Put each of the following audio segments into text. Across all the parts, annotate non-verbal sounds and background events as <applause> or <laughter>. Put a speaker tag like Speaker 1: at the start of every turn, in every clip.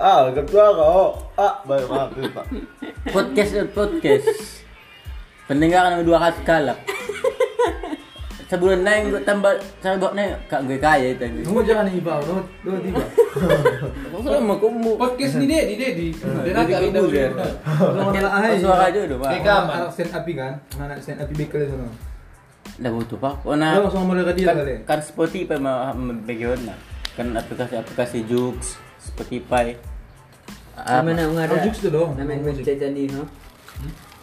Speaker 1: ああ、ketua kau. Ah, baik maaf itu, Pak.
Speaker 2: Podcast dan podcast. Pendengaran dua khas kalap. Sebulan naik gue tambah sebab naik kak gue kaya itu.
Speaker 3: Kamu jangan ibau, dua dua tiga.
Speaker 2: Aku sudah mau kumbu.
Speaker 4: Oh,
Speaker 3: Podcast ni dia, ni dia di. Dia nak
Speaker 2: Jadi
Speaker 3: kami
Speaker 2: kumbu dia. Suara aja udah pak.
Speaker 5: Mereka aman.
Speaker 3: Anak stand up kan, anak stand up bekel sana.
Speaker 2: Dah butuh pak.
Speaker 3: Dia
Speaker 2: Karena
Speaker 3: langsung mulai ke dia
Speaker 2: kan,
Speaker 3: kali.
Speaker 2: kan Spotify mah bagi orang. Kan aplikasi-aplikasi Joox, Spotify. Ah,
Speaker 4: Nama nak ada.
Speaker 3: Oh, Jux tu doh. Hmm?
Speaker 4: Nama
Speaker 3: Oh,
Speaker 4: nak
Speaker 3: Jux.
Speaker 4: cerita ni ha.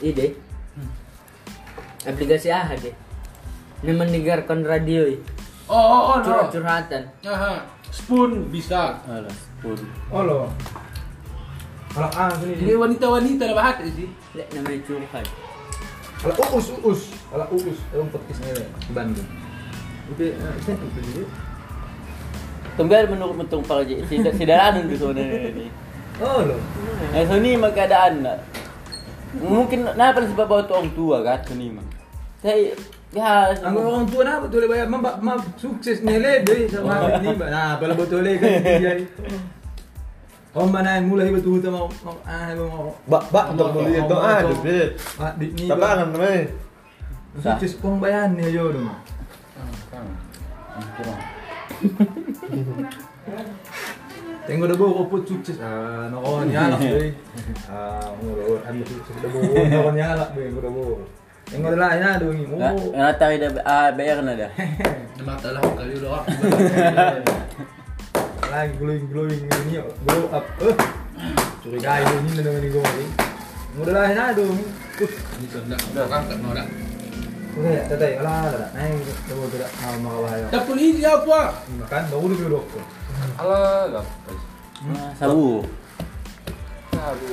Speaker 4: Ide.
Speaker 3: Hmm.
Speaker 4: Aplikasi ah deh. Ni mendengarkan radio i.
Speaker 5: Oh, oh, oh, no.
Speaker 4: curhat-curhatan.
Speaker 5: Aha. Spoon bisa.
Speaker 2: Alas pun.
Speaker 3: Oh lo. Kalau ah sini.
Speaker 5: Ini wanita-wanita lah bahas sih.
Speaker 4: Lek namanya curhat.
Speaker 3: Kalau uus uus, kalau uus, orang podcast ni deh, di Bandung. Udah, stand up tu dia.
Speaker 2: Tunggal menurut mentung pak je. Tidak <laughs> sidaran di sana ni.
Speaker 3: Oh lo.
Speaker 2: Eh, Sony mah keadaan nak. Mungkin kenapa sebab bawa tu orang tua kan Sony mah. Saya ya
Speaker 3: Ang orang tua na betul bayar mabak mab sukses ni le deh
Speaker 2: Oh.
Speaker 3: sama ni ba. Nah, pala betul le kan
Speaker 2: <laughs>
Speaker 3: dia. Oh mana mulai betul tu mau mau ah mau.
Speaker 1: Bak, bak, untuk dulu itu. Ah, duit.
Speaker 3: Ah, di ni.
Speaker 1: Tapi
Speaker 3: ba.
Speaker 1: kan temen.
Speaker 3: Sukses pong bayan ni yo dong. Tengok dah bawa pun sukses. Ah, nakon ya lah deh. Ah, mulu ambil sukses dah bawa nakon ya lah deh dah bawa. Tengok dah lain ada ni.
Speaker 2: Nah,
Speaker 3: Oh.
Speaker 2: Nata ada ah bayar
Speaker 4: <laughs>
Speaker 2: nada.
Speaker 5: Mata lah kali udah.
Speaker 3: lagi glowing glowing ini glow up eh curigai lu ini dengan ini gue udah lah nah dong uh
Speaker 5: Ini sudah. Udah kan tak mau dah.
Speaker 3: udah ya teteh alah alah nah ini coba tidak mau mau bahaya
Speaker 5: Tak pun ini apa?
Speaker 3: ya. makan baru dulu dokter
Speaker 5: Alah,
Speaker 2: Ah, Sabu.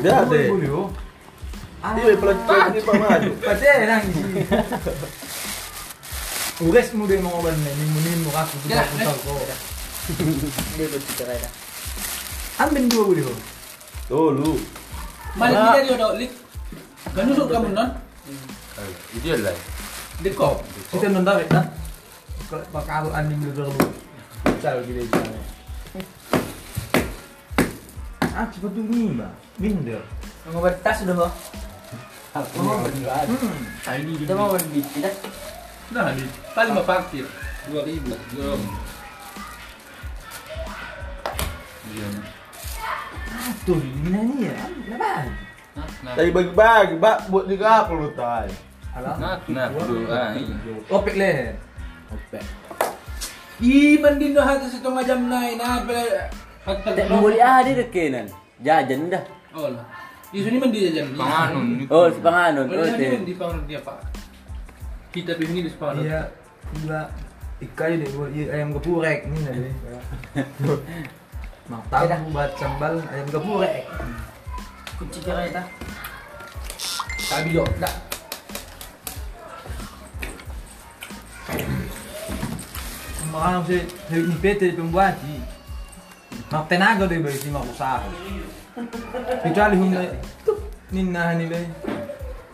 Speaker 1: Dia ada. Iya,
Speaker 3: dulu
Speaker 1: Dia pelan ni Pak Maju.
Speaker 3: pasti enak ini Ures mu deh mau balik nih, minggu minggu aku
Speaker 5: Ya,
Speaker 3: buka buka kok.
Speaker 4: Dia bercerai dah.
Speaker 3: Ambil dua dulu.
Speaker 1: Dulu.
Speaker 5: Mana kita dia dah lik. Kan nusuk kamu non? Hmm.
Speaker 6: Ideal lah.
Speaker 5: Dekop.
Speaker 3: Kita nonton ya. Kalau bakal anjing dulu dulu. Cari gini aja. Ah, cepat dulu nih, Mbak. Minder.
Speaker 4: Mau bertas sudah ho. Mau berdebat.
Speaker 5: Ini
Speaker 4: Kita mau berbicara. dah.
Speaker 5: Nah, di paling mah parkir. 2000. Jom. Iya.
Speaker 3: Tuh, gimana nih ya? Kenapa?
Speaker 5: Nah, nah.
Speaker 1: Tapi bagi-bagi, bak buat tiga puluh tahun.
Speaker 3: Alah.
Speaker 5: Nah, nah, bro. Ah, iya.
Speaker 3: Opek leh.
Speaker 5: Ih, mending dah hati setengah jam naik. Nah, bila hati
Speaker 2: Tak boleh ah dia dekenan. Jajan dah.
Speaker 5: Oh lah. Isu ni mending jajan.
Speaker 6: Panganun ni.
Speaker 2: Oh, sepanganon.
Speaker 5: Kalau
Speaker 2: Oh,
Speaker 5: ni
Speaker 2: teh.
Speaker 5: mending panganun dia pak. Kita pergi ni di sepanganun.
Speaker 3: Iya, gila. Ikai deh, gua iya, ayam gepurek nih nanti. Mak tahu buat sambal ayam gepurek.
Speaker 4: Kunci cerai dah.
Speaker 5: Tak bijak. Tak.
Speaker 3: Makan sih, hari ini pete pembuat sih. Mak tenaga deh bagi si mak usaha. Kecuali hundai, tuh, nina nih deh.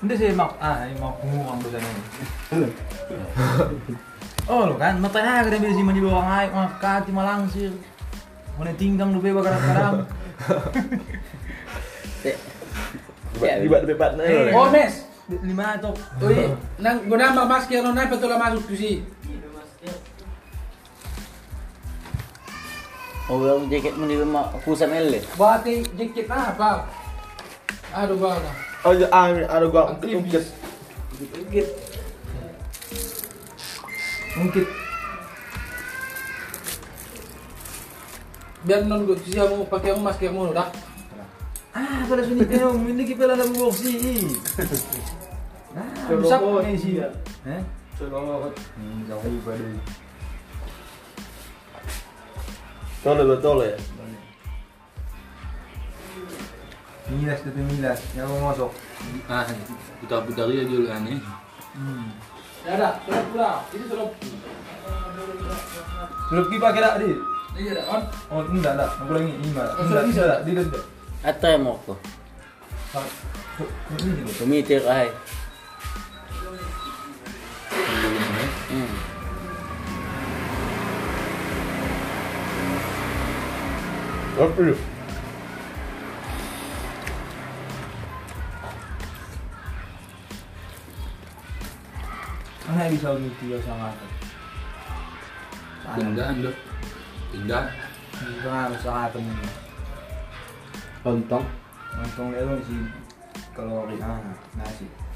Speaker 3: Nanti sih mak, ah, ini mak ngurang tuh sana. Oh lo kan, mak tenaga deh bagi si mak di bawah air, mak kati malang sih. Mana tinggang dulu bakar karang.
Speaker 1: Ibat lebih pat
Speaker 3: Eh.
Speaker 1: naik.
Speaker 5: Oh, mes.
Speaker 3: Lima tuh.
Speaker 5: Oi, nang guna mak masker non apa tu lah masuk tu si.
Speaker 2: Oh, orang jaket mun di rumah pusat mele.
Speaker 5: Bawa teh jaket lah apa? Aduh bawa lah.
Speaker 1: Oh, ya, ah, ada gua ungkit.
Speaker 3: Mungkin
Speaker 5: Biar non gua tu si kamu pakai kamu masker kamu dah.
Speaker 3: Ah, pada sini kau memiliki pela dalam gua sih. Ah, rusak ni sih. Eh? Hmm,
Speaker 1: Tole betole.
Speaker 3: Milas tu milas, yang mau masuk.
Speaker 6: Ah, putar putar dia dulu kan ni.
Speaker 3: Hmm.
Speaker 5: Dah dah, sudah pula. Ini sudah.
Speaker 3: Sudah pergi pakai tak dia?
Speaker 5: Ini Iya, dah on.
Speaker 3: Oh, enggak tak. Aku lagi ini malah.
Speaker 5: Oh,
Speaker 3: Enggak,
Speaker 5: sudah bisa.
Speaker 3: enggak tak. Dia dah sudah.
Speaker 2: Atau yang mau aku.
Speaker 3: Tak. Su- Ini juga.
Speaker 2: Kami tirai.
Speaker 1: Apa lu?
Speaker 3: hai bisa uniti ya sama aku.
Speaker 6: Pindah dok. Pindah.
Speaker 3: Bisa sama aku ini.
Speaker 4: Lontong.
Speaker 3: Untung lewat sih kalau hari ah nasi.